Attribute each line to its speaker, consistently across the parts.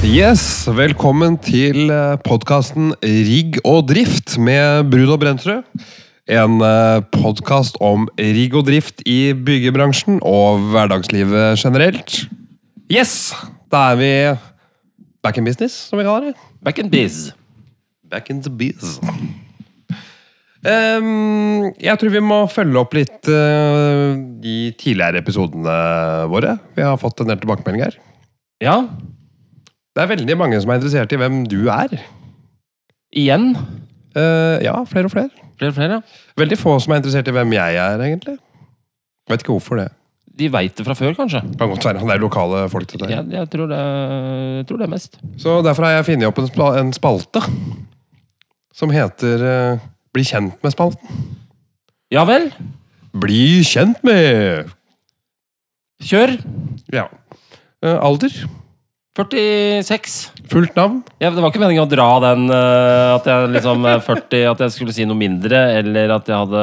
Speaker 1: Yes, velkommen til podkasten Rigg og drift med Brud og Brentrud. En podkast om rigg og drift i byggebransjen og hverdagslivet generelt. Yes, da er vi back in business, som vi kaller det.
Speaker 2: Back in biz.
Speaker 1: Back in the biz. Ehm, jeg tror vi må følge opp litt eh, de tidligere episodene våre. Vi har fått en del tilbakemeldinger.
Speaker 2: Ja,
Speaker 1: Det er veldig mange som er interessert i hvem du er.
Speaker 2: igjen.
Speaker 1: Eh, ja, flere og flere.
Speaker 2: Flere og flere, ja.
Speaker 1: Veldig få som er interessert i hvem jeg er, egentlig. Vet ikke hvorfor det.
Speaker 2: De veit det fra før, kanskje.
Speaker 1: Kan godt være, Det er lokale folk. dette her.
Speaker 2: Jeg, jeg, tror, det, jeg tror det er mest.
Speaker 1: Så derfor har jeg funnet opp en, spa- en spalte som heter eh, Bli kjent med-spalten.
Speaker 2: Ja vel.
Speaker 1: Bli kjent med!
Speaker 2: Kjør.
Speaker 1: Ja. Eh, alder.
Speaker 2: 46.
Speaker 1: Fullt navn.
Speaker 2: Ja, det var ikke meningen å dra den eh, at jeg liksom eh, 40, at jeg skulle si noe mindre, eller at jeg hadde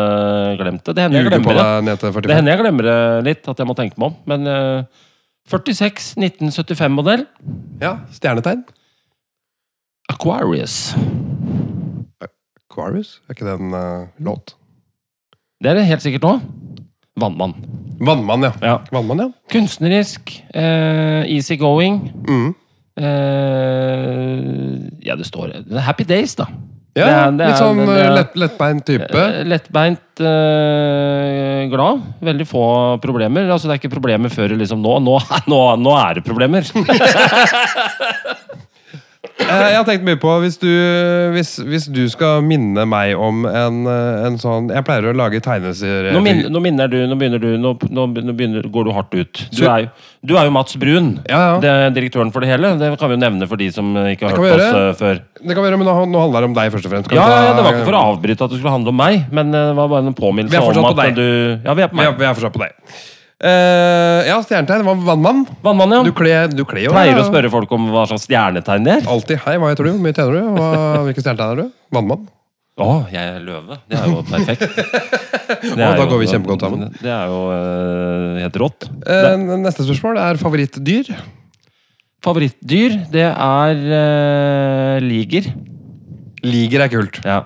Speaker 2: glemt det. Det hender jeg
Speaker 1: Ljuger på
Speaker 2: glemmer det.
Speaker 1: deg ned til
Speaker 2: Det
Speaker 1: 45.
Speaker 2: hender jeg glemmer det litt, at jeg må tenke meg om. Men eh, 46, 1975-modell.
Speaker 1: Ja, Stjernetegn.
Speaker 2: Aquarius.
Speaker 1: Aquarius? Er ikke det en eh, låt?
Speaker 2: Det er det helt sikkert nå. Vannmann.
Speaker 1: Vannmann, ja.
Speaker 2: Ja.
Speaker 1: Vannmann, ja.
Speaker 2: Kunstnerisk. Eh, easy going.
Speaker 1: Mm.
Speaker 2: Eh, ja, det står det er Happy Days, da.
Speaker 1: ja
Speaker 2: Det er- det
Speaker 1: litt
Speaker 2: er-
Speaker 1: sånn
Speaker 2: det- det
Speaker 1: eh,
Speaker 2: er-
Speaker 1: lett, lettbeint type.
Speaker 2: Eh, Lettbeint, eh, glad. Veldig få problemer. Altså, det er ikke problemer før liksom nå. Nå, nå, nå er det problemer.
Speaker 1: Eh, Jeg har tenkt mye på hvis du, hvis, hvis du skal minne meg om en, eh, en sånn Jeg pleier å lage tegneserier.
Speaker 2: Nå, min, nå minner du, nå begynner du, nå, nå begynner- nå begynner, går du hardt ut. Du er jo, du er jo Mats Brun,
Speaker 1: Ja, ja.
Speaker 2: Det er direktøren for det hele. Det kan vi jo nevne for de som eh, ikke har
Speaker 1: kan vi
Speaker 2: hørt oss
Speaker 1: gjøre.
Speaker 2: eh, før.
Speaker 1: Det kan være, men nå, nå handler det om deg, først og fremst. Kan vi
Speaker 2: Ja, ja,
Speaker 1: ta-
Speaker 2: ja, Det var ikke for å avbryte at det skulle handle om meg, men eh, det var bare en
Speaker 1: Vi
Speaker 2: påminnelse
Speaker 1: er fortsatt
Speaker 2: om
Speaker 1: på deg.
Speaker 2: at du Ja, vi er på
Speaker 1: Vi
Speaker 2: meg.
Speaker 1: er, vi er fortsatt på deg. Eh, ja, stjernetegn. Vann- Vannmann.
Speaker 2: Vannmann, ja.
Speaker 1: Du kler du kler jo
Speaker 2: Pleier
Speaker 1: ja.
Speaker 2: å spørre folk om hva slags stjernetegn de er.
Speaker 1: Alltid. Hei, hva heter du? Hvor mye tjener du? Hva, hvilke stjernetegn er du? Vannmann.
Speaker 2: Å, jeg er løve. Det er jo perfekt.
Speaker 1: Å,
Speaker 2: Det er
Speaker 1: da
Speaker 2: jo-
Speaker 1: går vi kjempegodt sammen.
Speaker 2: Det er jo eh, helt rått.
Speaker 1: Eh, neste spørsmål er favorittdyr.
Speaker 2: Favorittdyr, det er eh, liger.
Speaker 1: Liger er kult.
Speaker 2: Ja.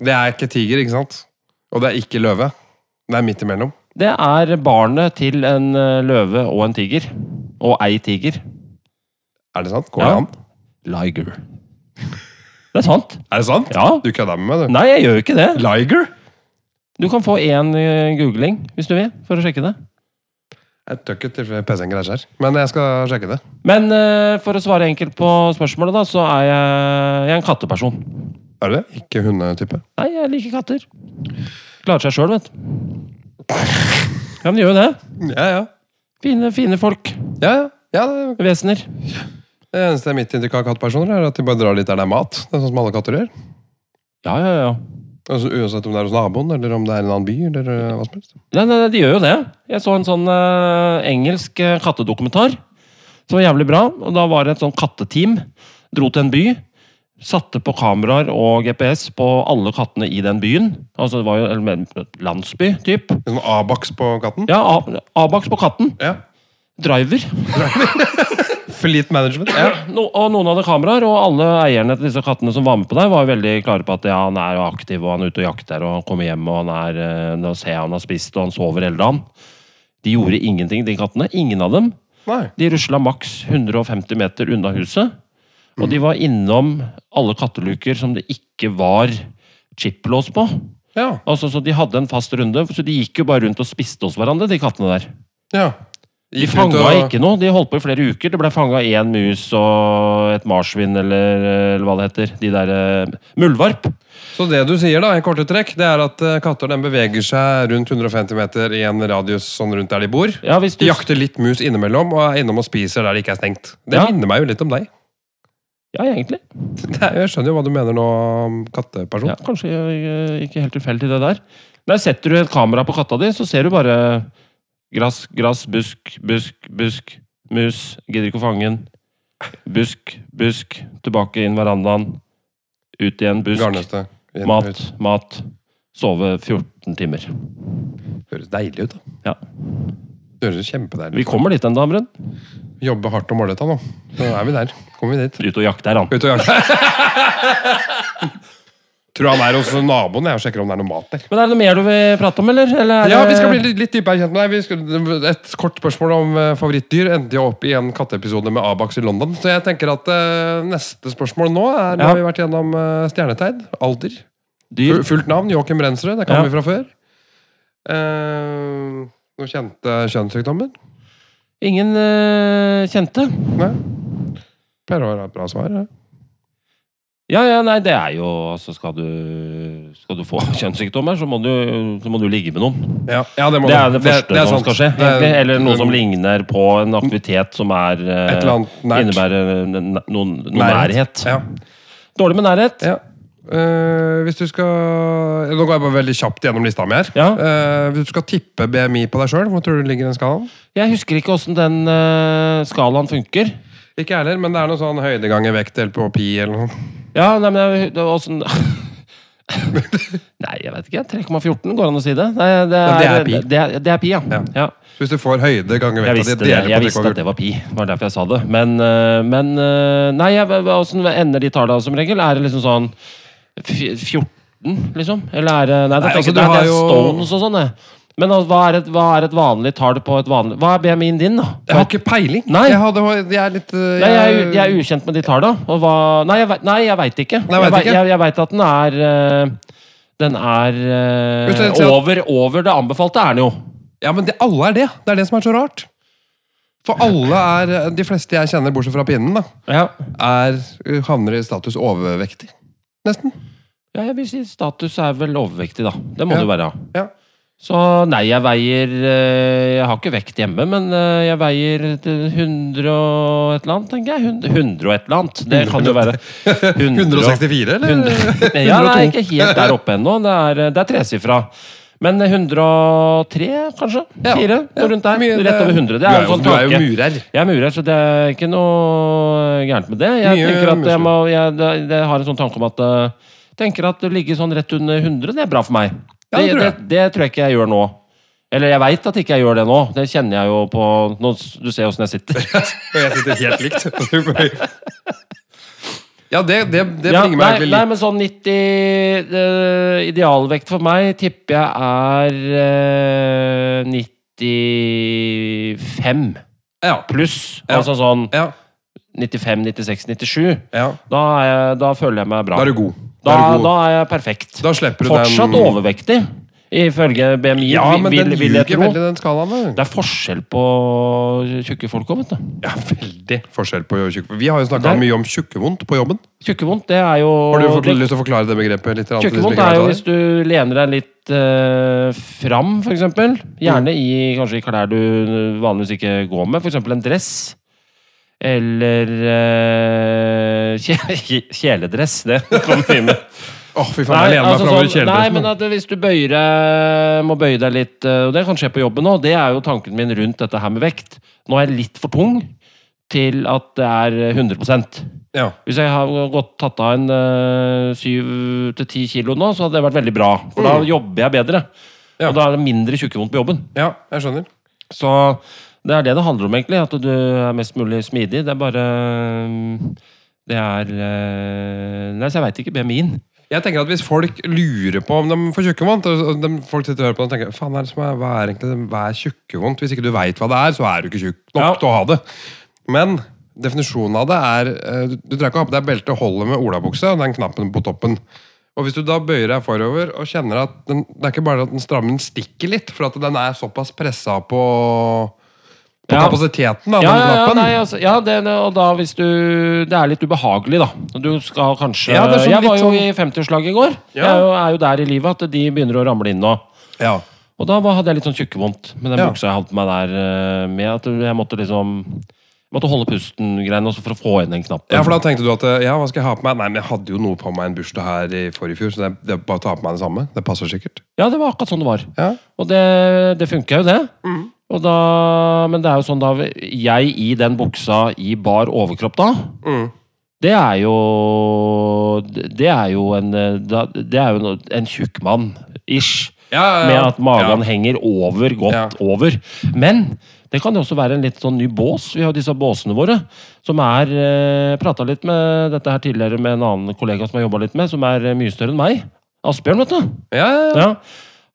Speaker 1: Det er ikke tiger, ikke sant? Og det er ikke løve. Det er midt imellom.
Speaker 2: Det er barnet til en eh, løve og en tiger. Og ei tiger.
Speaker 1: Er det sant? Går det
Speaker 2: Ja.
Speaker 1: an?
Speaker 2: Liger. Det er sant.
Speaker 1: Er det sant?
Speaker 2: Ja.
Speaker 1: Du kødda med meg, du.
Speaker 2: Nei, jeg gjør jo ikke det.
Speaker 1: Liger?
Speaker 2: Du kan få én eh, googling, hvis du vil, for å sjekke det.
Speaker 1: Jeg tør ikke til PC-en greier her, men jeg skal sjekke det.
Speaker 2: Men eh, for å svare enkelt på spørsmålet, da, så er jeg, jeg er en katteperson.
Speaker 1: Er du det? Ikke hundetype?
Speaker 2: Nei, jeg liker katter. Klarer seg sjøl, vet du. Ja, men de gjør jo det.
Speaker 1: Ja, ja.
Speaker 2: Fine, fine folk.
Speaker 1: Ja, ja. ja det-
Speaker 2: Vesener.
Speaker 1: det eneste mitt inntrykk av kattpersoner, er at de bare drar litt der det er mat. Det er sånn som alle katter gjør.
Speaker 2: Ja, ja, ja.
Speaker 1: Altså, uansett om det er hos naboen, eller om det er i en annen by, eller eh, hva som helst.
Speaker 2: Nei, nei, nei, de gjør jo det. Jeg så en sånn eh, engelsk eh, kattedokumentar som var jævlig bra. Og da var det et sånn katteteam. Dro til en by. Satte på kameraer og GPS på alle kattene i den byen. Altså det var jo en landsby, typ.
Speaker 1: Det er Sånn Abax på katten.
Speaker 2: Ja, A- Abax på katten.
Speaker 1: Ja.
Speaker 2: Driver.
Speaker 1: Fleet management. Ja.
Speaker 2: No, og noen hadde kameraer, og alle eierne til disse kattene som var med på der, var jo veldig klare på at ja, han er jo aktiv, og han er ute og jakter, og han kommer hjem, og han er, eh, nå ser jeg han har spist, og han sover hele dagen. De gjorde ingenting, de kattene. Ingen av dem.
Speaker 1: Nei.
Speaker 2: De rusla maks 150 meter unna huset, og de var innom alle katteluker som det ikke var chiplås på.
Speaker 1: Ja.
Speaker 2: Altså, så De hadde en fast runde, så de gikk jo bare rundt og spiste hos hverandre, de kattene der.
Speaker 1: ja.
Speaker 2: De fanga ikke noe. De holdt på i flere uker. Det ble fanga én mus og et marsvin, eller, eller hva det heter. De der eh, Muldvarp.
Speaker 1: Så det du sier, da, i korte trekk, det er at eh, katter den beveger seg rundt 150 meter i en radius sånn rundt der de bor.
Speaker 2: Ja, hvis du,
Speaker 1: De jakter litt mus innimellom, og er innom og spiser der det ikke er stengt. Det
Speaker 2: Ja.
Speaker 1: minner meg jo litt om deg.
Speaker 2: ja egentlig.
Speaker 1: Det er, jeg skjønner jo hva du mener nå, om katteperson.
Speaker 2: Ja, kanskje eh, ikke helt tilfeldig, det der. Der setter du et kamera på katta di, så ser du bare gress, gress, busk, busk, busk. Mus. Gidder ikke å fange den. Busk, busk. Tilbake inn verandaen. Ut igjen, busk.
Speaker 1: Garnnøste. Inn,
Speaker 2: Mat,
Speaker 1: ut.
Speaker 2: mat. Sove 14 timer.
Speaker 1: Høres deilig ut, da.
Speaker 2: Ja.
Speaker 1: Det høres kjempedeilig
Speaker 2: Vi
Speaker 1: ut.
Speaker 2: kommer dit en dag, Brun.
Speaker 1: Vi, jobbe hardt og målretta nå. Så er vi der. Kommer vi dit.
Speaker 2: Ute og jakter, han.
Speaker 1: Ut og jakte. Tror han er hos naboen jeg og sjekker om det er noe mat der.
Speaker 2: Men er det noe mer du vil prate om, eller? eller er
Speaker 1: Ja, vi
Speaker 2: det-
Speaker 1: skal bli litt, litt dypere kjent med deg. Vi skal, et kort spørsmål om eh, favorittdyr. Endte jeg opp i en katteepisode med Abax i London. Så jeg tenker at eh, neste spørsmål nå er Nå
Speaker 2: Ja.
Speaker 1: har vi vært gjennom eh, stjernetegn, alder,
Speaker 2: Dyr.
Speaker 1: fu- fullt navn, Joakim Rensrud. Det kan
Speaker 2: Ja.
Speaker 1: vi fra før. Eh, noen kjente kjønnssykdommer?
Speaker 2: Ingen eh, kjente.
Speaker 1: Nei. Pleier å være et bra svar. ja.
Speaker 2: Ja, ja, nei, det er jo altså skal, du, skal du få kjønnssykdommer, så må du, så må du ligge med noen.
Speaker 1: Ja, ja, det, må
Speaker 2: Det er
Speaker 1: du.
Speaker 2: det første
Speaker 1: det er
Speaker 2: som
Speaker 1: sant.
Speaker 2: skal skje.
Speaker 1: Det er- Mm.
Speaker 2: egentlig. eller noe som ligner på en aktivitet som er eh,
Speaker 1: Et eller annet nært.
Speaker 2: Innebærer eh, n- n- noen, noen
Speaker 1: Nærhet.
Speaker 2: nærhet.
Speaker 1: Ja.
Speaker 2: Dårlig med nærhet.
Speaker 1: Ja. Eh, hvis du skal Nå går jeg bare veldig kjapt gjennom lista mi her.
Speaker 2: Ja.
Speaker 1: Eh, hvis du skal tippe BMI på deg sjøl, hvor tror du ligger den skalaen?
Speaker 2: Jeg husker ikke åssen den eh, skalaen funker.
Speaker 1: Ikke jeg heller, men det er noe sånn høydegang i vekt eller på pi eller noe.
Speaker 2: Ja, nei, men jeg- det var åssen Nei, jeg vet ikke. 3,14 går an å si det. Nei, det, er,
Speaker 1: Ja, det er pi.
Speaker 2: Det er, det er pi, ja.
Speaker 1: Ja.
Speaker 2: ja.
Speaker 1: Så Hvis du får høyde ganger
Speaker 2: Jeg
Speaker 1: vekta
Speaker 2: visste,
Speaker 1: di
Speaker 2: det,
Speaker 1: deler
Speaker 2: jeg
Speaker 1: på
Speaker 2: visste at
Speaker 1: 3,14
Speaker 2: det var pi. Det var derfor jeg sa det. Men, øh, men øh, Nei, jeg, hva- hva- hvordan ender de tallene som regel? Er det liksom sånn f- 14, liksom? Eller er det Nei,
Speaker 1: Nei,
Speaker 2: det, tenker,
Speaker 1: altså, du
Speaker 2: nei,
Speaker 1: har
Speaker 2: det er
Speaker 1: jo-
Speaker 2: Stones og sånn, det. Men altså, hva, er et, hva er et vanlig tall på et vanlig Hva er BMI-en din, da?
Speaker 1: Jeg har ikke peiling.
Speaker 2: Nei.
Speaker 1: Jeg, hadde, jeg er litt eh,
Speaker 2: Nei, jeg, er u- jeg er ukjent med de tallene. Og hva Nei, jeg, vet- nei, jeg veit ikke.
Speaker 1: Nei, vet
Speaker 2: jeg, vei-
Speaker 1: ikke.
Speaker 2: jeg, jeg veit at den er øh, Den er øh,
Speaker 1: Hvis jeg sier at-
Speaker 2: over, over det anbefalte, er den jo.
Speaker 1: Ja, men det, alle er det. Det er det som er så rart. For alle er De fleste jeg kjenner, bortsett fra pinnen, da,
Speaker 2: Ja.
Speaker 1: er, eh, havner i status overvektig. Nesten.
Speaker 2: ja, jeg vil si status er vel overvektig, da. Det må
Speaker 1: Ja.
Speaker 2: det være.
Speaker 1: Ja.
Speaker 2: Så nei, jeg veier eh, Jeg har ikke vekt hjemme, men eh, jeg veier et- 100 og et eller annet, tenker jeg. 100, 100 og et eller annet. Det kan jo være 100 og-
Speaker 1: 164, eller?
Speaker 2: 100
Speaker 1: 102.
Speaker 2: Ja, nei, ikke helt der oppe ennå. Det er, eh, det er tresifra. Men 103, kanskje?
Speaker 1: Ja.
Speaker 2: Fire?
Speaker 1: Ja.
Speaker 2: Noe rundt der.
Speaker 1: Mye-
Speaker 2: Rett over 100. Det er jo en sånn
Speaker 1: Du er jo
Speaker 2: tanke.
Speaker 1: murer.
Speaker 2: Jeg er murer, så det er ikke noe gærent med det. Jeg
Speaker 1: Mye
Speaker 2: tenker at jeg,
Speaker 1: muskler.
Speaker 2: må, jeg, det- det har en sånn tanke om at eh, tenker at det ligger sånn rett under 100, det er bra for meg.
Speaker 1: Ja, det tror
Speaker 2: det,
Speaker 1: jeg.
Speaker 2: det, det tror jeg ikke jeg gjør nå. Eller jeg veit at ikke jeg gjør det nå. Det kjenner jeg jo på nå, s- Du ser åssen jeg sitter.
Speaker 1: Og jeg sitter helt likt. ja, det, det, det
Speaker 2: Ja,
Speaker 1: bringer
Speaker 2: nei,
Speaker 1: meg egentlig
Speaker 2: nei,
Speaker 1: litt
Speaker 2: men sånn 90 eh, Idealvekt for meg tipper jeg er eh, 95
Speaker 1: ja.
Speaker 2: pluss.
Speaker 1: Ja.
Speaker 2: Altså sånn
Speaker 1: ja,
Speaker 2: 95, 96, 97.
Speaker 1: ja.
Speaker 2: Da, er jeg, da føler jeg meg bra.
Speaker 1: Da er du god.
Speaker 2: Da,
Speaker 1: Da, er du god.
Speaker 2: da er jeg perfekt.
Speaker 1: da slipper du
Speaker 2: Fortsatt
Speaker 1: den
Speaker 2: overvektig, ifølge BMI.
Speaker 1: Ja, men
Speaker 2: vil,
Speaker 1: den
Speaker 2: vil jeg
Speaker 1: ljuger
Speaker 2: tro.
Speaker 1: veldig, den skalaen.
Speaker 2: Det er forskjell på tjukke folk òg, vet du.
Speaker 1: Ja, veldig forskjell på tjukk Vi har jo snakka
Speaker 2: Der.
Speaker 1: mye om tjukkevondt på jobben.
Speaker 2: Tjukkevondt, det er jo
Speaker 1: Har du fått
Speaker 2: det-
Speaker 1: lyst til å forklare det begrepet litt? til de som
Speaker 2: Tjukkevondt
Speaker 1: ikke
Speaker 2: er
Speaker 1: vet hva
Speaker 2: jo
Speaker 1: det
Speaker 2: hvis du lener deg litt eh, fram, for eksempel.
Speaker 1: Mm.
Speaker 2: Gjerne i kanskje i klær du vanligvis ikke går med, for eksempel en dress. Eller eh, kje, kjeledress. Det kommer mye med.
Speaker 1: Åh, fy faen, jeg lener meg
Speaker 2: altså
Speaker 1: framover i
Speaker 2: sånn- nei, men
Speaker 1: kjeledressen.
Speaker 2: at hvis du bøyer deg- må bøye deg litt, eh, og det kan skje på jobben òg, det er jo tanken min rundt dette her med vekt. Nå er jeg litt for tung til at det er 100
Speaker 1: Ja.
Speaker 2: Hvis jeg har gått tatt av en eh, syv til ti kilo nå, så hadde det vært veldig bra. For da
Speaker 1: Mm.
Speaker 2: jobber jeg bedre.
Speaker 1: Ja.
Speaker 2: Og da er det mindre tjukkevondt på jobben.
Speaker 1: ja, jeg skjønner.
Speaker 2: Så det er det det handler om, egentlig. At du er mest mulig smidig. Det er bare mm, Det er eh, Nei, så jeg veit ikke BMI-en.
Speaker 1: Jeg tenker at Hvis folk lurer på om de får tjukkevondt og- og de- Folk sitter og hører på og tenker Faen, er det som er, hva er egentlig hva er tjukkevondt? Hvis ikke du veit hva det er, så er du ikke tjukk nok
Speaker 2: Ja.
Speaker 1: til å ha det. Men definisjonen av det er eh, Du du trenger ikke ha på deg belte, holder med olabukse og den knappen på toppen. Og Hvis du da bøyer deg forover og kjenner at den, det er ikke bare at den strammen stikker litt, for at den er såpass pressa på, på
Speaker 2: Ja.
Speaker 1: kapasiteten av
Speaker 2: Ja,
Speaker 1: den
Speaker 2: ja, ja,
Speaker 1: knappen.
Speaker 2: nei, altså, ja det, det- og da hvis du Det er litt ubehagelig, da. Du skal kanskje
Speaker 1: Ja, det er sånn
Speaker 2: Jeg var
Speaker 1: litt
Speaker 2: jo
Speaker 1: sånn-
Speaker 2: i 50-årslag i går.
Speaker 1: Ja.
Speaker 2: Jeg er jo, er jo der i livet at de begynner å ramle inn nå.
Speaker 1: ja.
Speaker 2: Og da var- hadde jeg litt sånn tjukkevondt med den
Speaker 1: Ja.
Speaker 2: buksa jeg hadde på meg der. eh, med at Jeg måtte liksom jeg måtte holde pusten-greiene også for å få inn den knappen.
Speaker 1: Ja, for da tenkte du at eh, ja, hva skal jeg ha på meg? Nei, men jeg hadde jo noe på meg en bursdag her i forrige fjor, så det, det er bare å ta på meg det samme. Det passer sikkert.
Speaker 2: Ja, det var akkurat sånn det var.
Speaker 1: Ja.
Speaker 2: Og det, det funka jo, det. Og da, men det er jo sånn da Jeg i den buksa i bar overkropp da
Speaker 1: Mm.
Speaker 2: Det er jo Det er jo en eh, da- Det er jo en, en tjukk mann, ish.
Speaker 1: Ja, ja, ja.
Speaker 2: Med at magen
Speaker 1: Ja.
Speaker 2: henger over, godt
Speaker 1: Ja.
Speaker 2: over. Men Det kan jo også være en litt sånn ny bås. Vi har jo disse båsene våre. Som er eh, Prata litt med dette her tidligere med en annen kollega som jeg jobba litt med, som er eh, mye større enn meg. Asbjørn, vet du.
Speaker 1: Ja, ja, ja.
Speaker 2: Ja.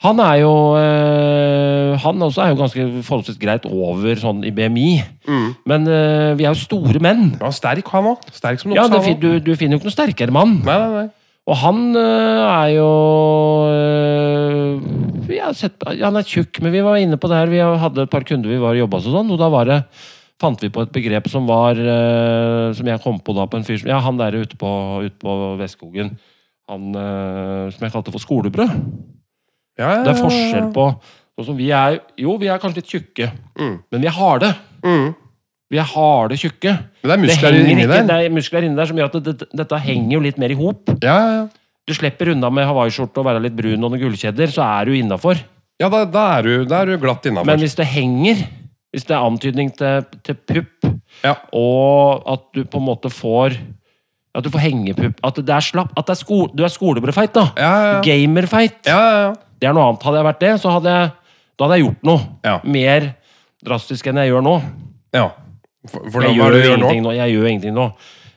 Speaker 2: Han er jo eh, Han også er jo ganske forholdsvis greit over sånn i BMI.
Speaker 1: Mm.
Speaker 2: Men eh, vi er jo store menn.
Speaker 1: Han var sterk, han òg. Sterk som
Speaker 2: Ja,
Speaker 1: oksa,
Speaker 2: det,
Speaker 1: han
Speaker 2: fin-
Speaker 1: også.
Speaker 2: du, du finner jo ikke noen sterkere mann.
Speaker 1: Nei, nei, nei.
Speaker 2: Og han øh, er jo øh, jeg har sett, Han er tjukk, men vi var inne på det her. Vi hadde et par kunder vi var og jobba sånn, og da var det, fant vi på et begrep som var øh, Som jeg kom på da på en fyr som Ja, han der ute på, ute på Vestskogen. Han øh, som jeg kalte for skolebrød.
Speaker 1: Ja, ja,
Speaker 2: Det er
Speaker 1: ja, ja.
Speaker 2: forskjell på sånn som vi er, Jo, vi er kanskje litt tjukke,
Speaker 1: Mm.
Speaker 2: men vi er harde.
Speaker 1: Mm.
Speaker 2: Vi er harde tjukke.
Speaker 1: Men det er
Speaker 2: Det
Speaker 1: muskler
Speaker 2: henger
Speaker 1: inni
Speaker 2: ikke,
Speaker 1: der.
Speaker 2: det er muskler inni der som gjør at det, det, dette henger jo litt mer i hop.
Speaker 1: Ja, ja, ja.
Speaker 2: Du slipper unna med hawaiiskjorte og være litt brun og noen gullkjeder, så er du innafor.
Speaker 1: ja da, da, er du, da er du glatt
Speaker 2: Men
Speaker 1: innafor.
Speaker 2: hvis det henger, hvis det er antydning til, til pupp,
Speaker 1: Ja.
Speaker 2: og at du på en måte får At du får hengepupp At det er slapp At det er sko, du er skolebrødfeit, da.
Speaker 1: Ja, ja, ja.
Speaker 2: Gamerfeit.
Speaker 1: ja, ja, ja.
Speaker 2: Det er noe annet. Hadde jeg vært det, så hadde jeg, da hadde jeg gjort noe.
Speaker 1: Ja.
Speaker 2: Mer drastisk enn jeg gjør nå.
Speaker 1: ja. For, for hva er
Speaker 2: Jeg gjør,
Speaker 1: det du gjør nå?
Speaker 2: ingenting nå. Jeg gjør ingenting nå.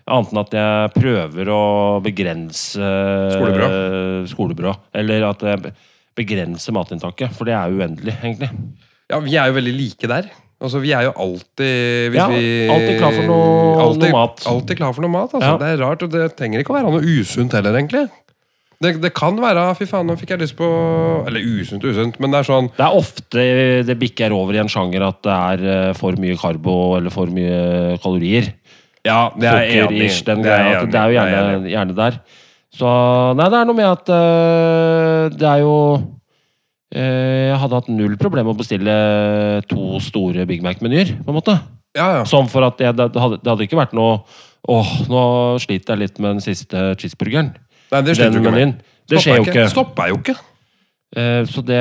Speaker 2: Annet enn at jeg prøver å begrense eh,
Speaker 1: Skolebrød.
Speaker 2: skolebrød. Eller at jeg begrenser matinntaket, for det er uendelig, egentlig.
Speaker 1: Ja, vi er jo veldig like der. Altså, vi er jo alltid hvis
Speaker 2: Ja,
Speaker 1: vi,
Speaker 2: alltid klar for noe-
Speaker 1: alltid,
Speaker 2: noe mat.
Speaker 1: Alltid klar for noe mat, altså.
Speaker 2: Ja.
Speaker 1: Det er rart, og det trenger ikke å være noe usunt heller, egentlig. Det, det kan være Fy faen, nå fikk jeg lyst på Eller usunt og usunt, men det er sånn
Speaker 2: Det er ofte det bikker over i en sjanger at det er eh, for mye karbo eller for mye kalorier.
Speaker 1: Ja, det er jeg enig i.
Speaker 2: Sukker-ish, den
Speaker 1: Det er jeg
Speaker 2: greia. at
Speaker 1: enig i. Det
Speaker 2: Det er jo
Speaker 1: er jeg enig i.
Speaker 2: gjerne, gjerne der. Så Nei, det er noe med at eh, det er jo eh, Jeg hadde hatt null problem med å bestille to store Big Mac-menyer, på en måte.
Speaker 1: Ja, ja.
Speaker 2: Sånn for at jeg, det, hadde, det hadde ikke vært noe Åh, nå sliter jeg litt med den siste cheeseburgeren.
Speaker 1: Nei, det sliter
Speaker 2: Den
Speaker 1: du ikke med.
Speaker 2: menyen. Det skjer jo ikke.
Speaker 1: Stopper jeg jo ikke.
Speaker 2: Eh, Så det,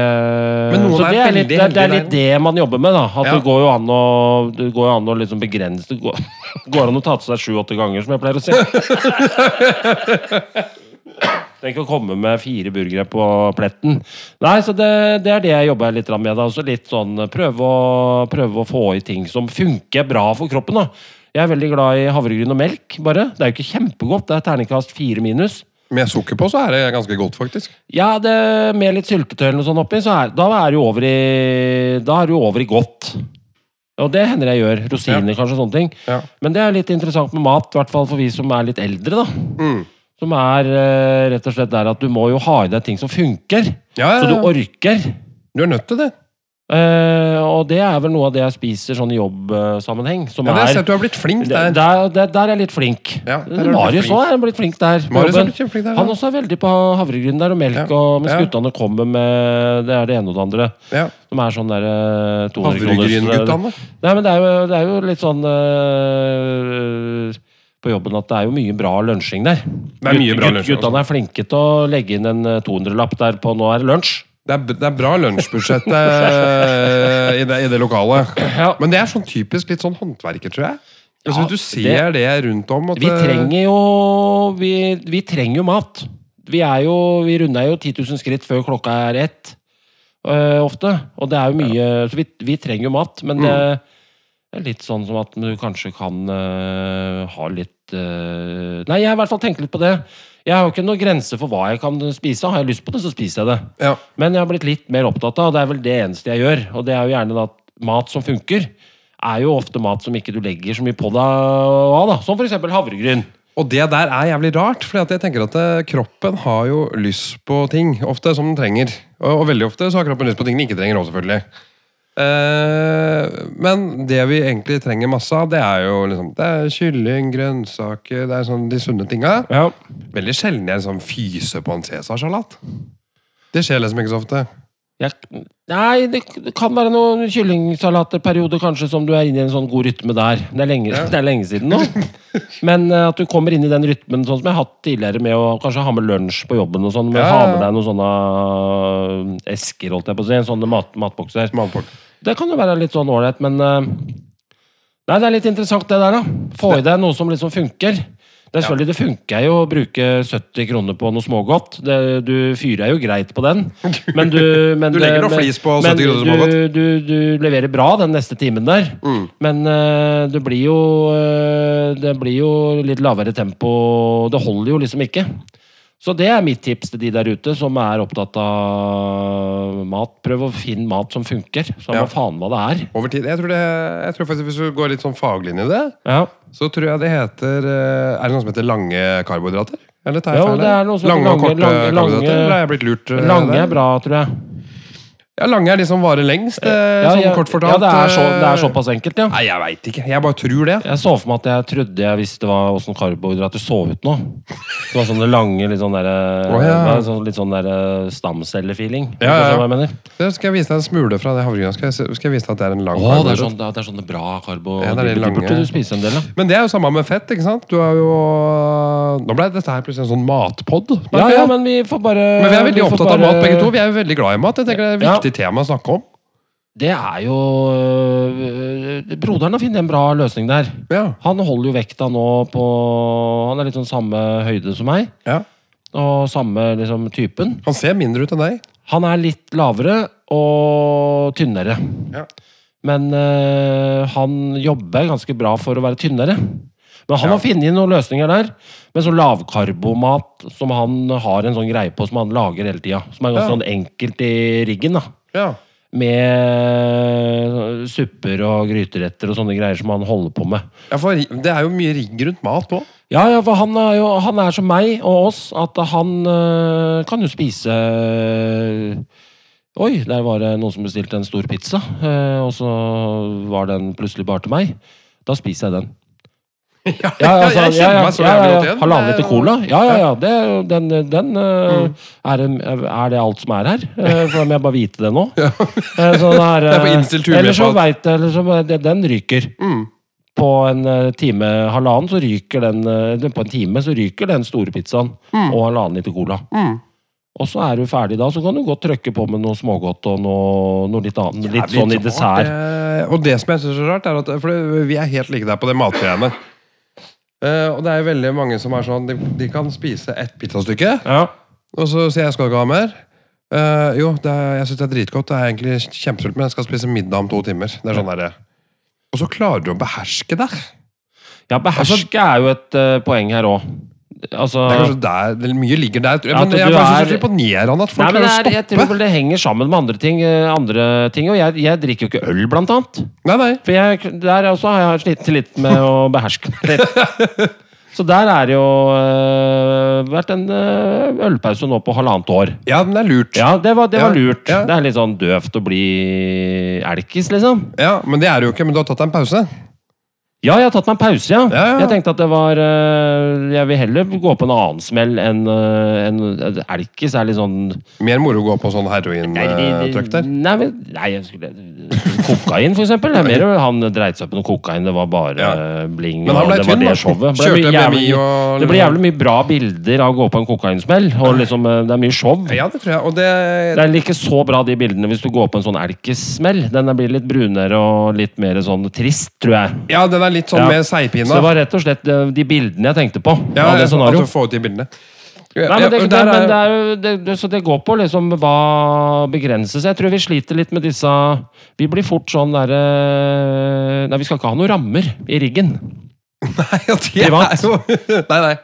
Speaker 1: Men noen
Speaker 2: så
Speaker 1: er
Speaker 2: det er, litt,
Speaker 1: veldig
Speaker 2: det, er- det er
Speaker 1: heldige
Speaker 2: litt det man jobber med, da. At
Speaker 1: Ja.
Speaker 2: det går jo an å, det går jo an å liksom begrense Det går, går an å ta til seg sju-åtte ganger, som jeg pleier å si. Tenk å komme med fire burgere på pletten. Nei, så det, det er det jeg jobber litt med. da Også litt sånn prøve å, prøve å få i ting som funker bra for kroppen. da Jeg er veldig glad i havregryn og melk, bare. Det er jo ikke kjempegodt. Det er terningkast fire minus.
Speaker 1: Med sukker på så er det ganske godt, faktisk.
Speaker 2: Ja, det, med litt syltetøy eller noe sånt oppi, så er, da er det jo over i Da er det jo over i godt. Og det hender jeg gjør. Rosiner, kanskje, og sånne ting.
Speaker 1: Ja.
Speaker 2: Men det er litt interessant med mat, i hvert fall for vi som er litt eldre, da.
Speaker 1: Mm.
Speaker 2: Som er eh, rett og slett der at du må jo ha i deg ting som funker.
Speaker 1: Ja, ja,
Speaker 2: Så du
Speaker 1: ja.
Speaker 2: orker.
Speaker 1: Du er nødt til det.
Speaker 2: Eh, og det er vel noe av det jeg spiser sånn i jobbsammenheng. Som
Speaker 1: Ja, det har jeg
Speaker 2: er
Speaker 1: sett du har blitt flink
Speaker 2: der,
Speaker 1: der.
Speaker 2: der, der er jeg litt flink.
Speaker 1: Ja, der er du
Speaker 2: Marius
Speaker 1: flink.
Speaker 2: òg er blitt flink der. på
Speaker 1: Marius har
Speaker 2: jobben.
Speaker 1: blitt kjempeflink der, ja.
Speaker 2: Han også er veldig på havregryn der og melk,
Speaker 1: Ja.
Speaker 2: og mens
Speaker 1: Ja.
Speaker 2: guttene kommer med det er det ene og det andre.
Speaker 1: Ja.
Speaker 2: Som er sånn der eh, 200 kroners-
Speaker 1: Havregrynguttene.
Speaker 2: Nei, men det er jo, det er jo litt sånn eh, på jobben at det er jo mye bra lunsjing der.
Speaker 1: Det er mye bra lunsjing altså. også.
Speaker 2: Guttene er flinke til å legge inn en eh, 200-lapp der på 'nå er det lunsj'.
Speaker 1: Det er, det er bra lunsjbudsjett eh, i, det, i det lokalet.
Speaker 2: Ja.
Speaker 1: Men det er sånn typisk litt sånn håndverker, tror jeg. Altså,
Speaker 2: Ja,
Speaker 1: hvis du ser det, rundt om at
Speaker 2: Vi
Speaker 1: eh,
Speaker 2: trenger jo Vi, vi trenger jo mat. Vi er jo Vi runder jo 10 000 skritt før klokka er ett. øh, ofte. Og det er jo mye Så vi, vi trenger jo mat, men det, det er litt sånn som at du kanskje kan øh, ha litt øh, Nei, jeg har i hvert fall tenkt litt på det. Jeg har jo ikke noen grense for hva jeg kan spise. Har jeg lyst på det, så spiser jeg det.
Speaker 1: ja.
Speaker 2: Men jeg har blitt litt mer opptatt av, og det er vel det eneste jeg gjør. Og det er jo gjerne da at mat som funker, er jo ofte mat som ikke du legger så mye på deg av. da. Som f.eks. havregryn.
Speaker 1: Og det der er jævlig rart, for jeg tenker at eh, kroppen har jo lyst på ting ofte som den trenger. Og, og veldig ofte så har kroppen lyst på ting den ikke trenger òg, selvfølgelig. Eh, men det vi egentlig trenger masse av, det er jo liksom Det er kylling, grønnsaker, det er sånn de sunne tinga.
Speaker 2: Ja.
Speaker 1: Veldig sjelden jeg liksom fyser på en cæsarsalat. Det skjer liksom ikke så ofte.
Speaker 2: Jeg, nei, det det kan være noen kyllingsalatperioder kanskje som du er inne i en sånn god rytme der. Det er lenge, det er lenge siden nå. Men eh, at du kommer inn i den rytmen sånn som jeg har hatt tidligere med å kanskje ha med lunsj på jobben og sånn. men
Speaker 1: Ja,
Speaker 2: Ha
Speaker 1: ja.
Speaker 2: med deg noen sånne eh, esker, holdt jeg på å si. Sånne mat, matbokser.
Speaker 1: Matport.
Speaker 2: Det kan jo være litt sånn ålreit, men eh, Nei, det er litt interessant det der, da. Få i deg noe som liksom funker. Det er selvfølgelig, det funker jo å bruke 70 kroner på noe smågodt. Det, du fyrer jo greit på den. Men du, men
Speaker 1: Du
Speaker 2: det-
Speaker 1: legger noe
Speaker 2: men-
Speaker 1: flis på
Speaker 2: men
Speaker 1: 70 kroner
Speaker 2: du-
Speaker 1: smågodt. Mm.
Speaker 2: Du, du leverer bra den neste timen der. Men eh, det blir jo eh, Det blir jo litt lavere tempo. Det holder jo liksom ikke. Så det er mitt tips til de der ute som er opptatt av mat. Prøv å finne mat som funker. Samme
Speaker 1: Ja.
Speaker 2: faen hva det er.
Speaker 1: Over tid. Jeg tror, det, jeg tror faktisk Hvis du går litt sånn faglig inn i det,
Speaker 2: Ja.
Speaker 1: så tror jeg det heter eh, Er det noe som heter lange karbohydrater? Eller tar jeg
Speaker 2: Jo,
Speaker 1: feil
Speaker 2: det
Speaker 1: her?
Speaker 2: er noe som heter
Speaker 1: lange og
Speaker 2: lange-
Speaker 1: korte
Speaker 2: lange-
Speaker 1: karbohydrater?
Speaker 2: lange-
Speaker 1: Eller har jeg blitt lurt? eh,
Speaker 2: Lange
Speaker 1: der?
Speaker 2: er bra, tror jeg.
Speaker 1: Ja, lange er de som varer lengst, eh, sånn
Speaker 2: jeg-
Speaker 1: kort fortalt.
Speaker 2: Ja, det er, så, det er
Speaker 1: eh,
Speaker 2: såpass enkelt, ja.
Speaker 1: Nei, jeg veit ikke. Jeg bare tror det.
Speaker 2: Jeg så for meg at jeg trodde jeg visste hva, hvordan karbohydrater så ut nå. Det var sånne lange, litt sånn derre
Speaker 1: Å, ja.
Speaker 2: det var sånn- Litt sånn derre stamcelle-feeling.
Speaker 1: Ja, ja, ja.
Speaker 2: Skjønner du hva jeg mener?
Speaker 1: Det skal jeg vise deg en smule fra det havregrynet. Skal, jeg se- skal jeg vise deg at det er en lang
Speaker 2: Å, det er
Speaker 1: karbohydrat?
Speaker 2: sånn, det er- det er sånne bra karbo...
Speaker 1: Ja, det er de
Speaker 2: de
Speaker 1: lange.
Speaker 2: burde du spise en del, da.
Speaker 1: Men det er jo samme med fett, ikke sant? Du har jo Nå ble dette her plutselig en sånn matpod.
Speaker 2: Ja, ja, men vi får bare
Speaker 1: Men vi er veldig
Speaker 2: vi får
Speaker 1: opptatt av
Speaker 2: bare-
Speaker 1: mat, begge to. Vi er jo veldig glad i mat. Jeg tenker Det er et
Speaker 2: Ja.
Speaker 1: viktig tema å snakke om.
Speaker 2: Det er jo øh, øh, Broderen har funnet en bra løsning der.
Speaker 1: Ja.
Speaker 2: Han holder jo vekta nå på Han er litt sånn samme høyde som meg,
Speaker 1: ja.
Speaker 2: og samme liksom typen.
Speaker 1: Han ser mindre ut enn deg.
Speaker 2: Han er litt lavere og tynnere.
Speaker 1: Ja.
Speaker 2: Men eh, han jobber ganske bra for å være tynnere. Men han
Speaker 1: Ja.
Speaker 2: har funnet noen løsninger der. Med sånn lavkarbomat som han har en sånn greie på som han lager hele tida. Som er ganske
Speaker 1: Ja.
Speaker 2: sånn enkelt i riggen. da.
Speaker 1: Ja.
Speaker 2: Med eh, supper og gryteretter og sånne greier som han holder på med.
Speaker 1: for det er jo mye rigg rundt mat òg.
Speaker 2: Ja, ja, for han er jo han er som meg og oss, at han øh, kan jo spise eh, Oi, der var det noen som bestilte en stor pizza, øh, og så var den plutselig bare til meg. Da spiser jeg den. Ja, altså,
Speaker 1: jeg
Speaker 2: ja,
Speaker 1: kjenner
Speaker 2: ja,
Speaker 1: meg så
Speaker 2: ja, ja,
Speaker 1: jævlig
Speaker 2: ja.
Speaker 1: godt igjen.
Speaker 2: Halvannen
Speaker 1: Det
Speaker 2: liter
Speaker 1: er jo- Mm.
Speaker 2: cola? Ja, ja, ja. Det, den, den øh, er, en- er det alt som er her? Eh, For da må jeg bare vite det nå. Eh, Så det er,
Speaker 1: Det er
Speaker 2: eh,
Speaker 1: for innstilt hue
Speaker 2: Eller så
Speaker 1: på
Speaker 2: veit jeg eller så- det- Den ryker
Speaker 1: Mm.
Speaker 2: på en eh, time, halvannen, så ryker den eh, eller På en time så ryker den store pizzaen og halvannen liter cola.
Speaker 1: Mm.
Speaker 2: Og så er du ferdig da, så kan du godt trykke på med noe smågodt og noe, noe litt annet.
Speaker 1: Det er
Speaker 2: Litt sånn i
Speaker 1: rart,
Speaker 2: dessert.
Speaker 1: det- Eh, Og det som jeg syns er så rart, er at For vi er helt like der på det matgreiene. Eh, og det er jo veldig mange som er sånn De, de kan spise ett pizzastykke,
Speaker 2: Ja.
Speaker 1: og så sier jeg 'skal du ikke ha mer'? Eh, jo, det er, jeg syns det er dritgodt. Det er egentlig kjempesulten, men jeg skal spise middag om to timer. Det er sånn der, Og så klarer du å beherske deg.
Speaker 2: ja, beherske er jo et eh, poeng her òg. Altså
Speaker 1: Altså- Det er kanskje der, det Mye ligger der. tror jeg.
Speaker 2: Ja,
Speaker 1: Men
Speaker 2: at
Speaker 1: jeg
Speaker 2: du
Speaker 1: bare synes
Speaker 2: er-
Speaker 1: det er så imponerende at folk
Speaker 2: Nei, men det
Speaker 1: klarer
Speaker 2: er,
Speaker 1: å
Speaker 2: jeg tror
Speaker 1: stoppe.
Speaker 2: vel det henger sammen med andre ting. eh, Andre ting og jeg, jeg drikker jo ikke øl, blant annet.
Speaker 1: Nei, nei.
Speaker 2: For jeg, der også har jeg slitt litt med å beherske meg litt. Så der er det jo øh, vært en øh, ølpause nå på halvannet år.
Speaker 1: Ja, den er lurt.
Speaker 2: Ja, det var, det var
Speaker 1: Ja,
Speaker 2: lurt.
Speaker 1: ja.
Speaker 2: Det er litt sånn døvt å bli elkis, liksom.
Speaker 1: Ja, Men det er du jo ikke. Men du har tatt deg en pause.
Speaker 2: Ja, jeg har tatt meg en pause, ja.
Speaker 1: Ja, ja.
Speaker 2: Jeg tenkte at det var øh, Jeg vil heller gå på en annen smell enn øh, en, Elkis er litt sånn
Speaker 1: Mer moro å gå på sånn
Speaker 2: Nei, de-
Speaker 1: herointrykk der.
Speaker 2: Nei, men, nei jeg skulle, kokain, for eksempel. Det er mer, han dreit seg på noe kokain. Det var bare
Speaker 1: Ja.
Speaker 2: bling.
Speaker 1: Men han
Speaker 2: og
Speaker 1: ble
Speaker 2: det
Speaker 1: tynn,
Speaker 2: var
Speaker 1: da.
Speaker 2: det showet. Ble
Speaker 1: Kjørte
Speaker 2: mye jævlig,
Speaker 1: BMI og-
Speaker 2: Det ble jævlig mye bra bilder av å gå på en kokainsmell. Og liksom, eh, det er mye show.
Speaker 1: Ja, det tror jeg. Og
Speaker 2: Det
Speaker 1: det,
Speaker 2: er ikke så bra, de bildene, hvis du går på en sånn elkesmell. Den blir litt brunere og litt mer sånn trist, tror jeg.
Speaker 1: ja, den er litt sånn
Speaker 2: Ja.
Speaker 1: med
Speaker 2: Så det
Speaker 1: seigpina.
Speaker 2: var rett og slett eh, de bildene jeg tenkte på.
Speaker 1: Ja,
Speaker 2: av det
Speaker 1: sånn at
Speaker 2: scenario.
Speaker 1: du får ut de bildene.
Speaker 2: Nei, men det,
Speaker 1: Ja, og
Speaker 2: det,
Speaker 1: der
Speaker 2: men
Speaker 1: er-
Speaker 2: det er jo det, det, Så det går på liksom hva begrenses. Jeg tror vi sliter litt med disse Vi blir fort sånn derre Nei, vi skal ikke ha noen rammer i riggen.
Speaker 1: Nei, ja, det er
Speaker 2: Privat.
Speaker 1: jo Nei, nei.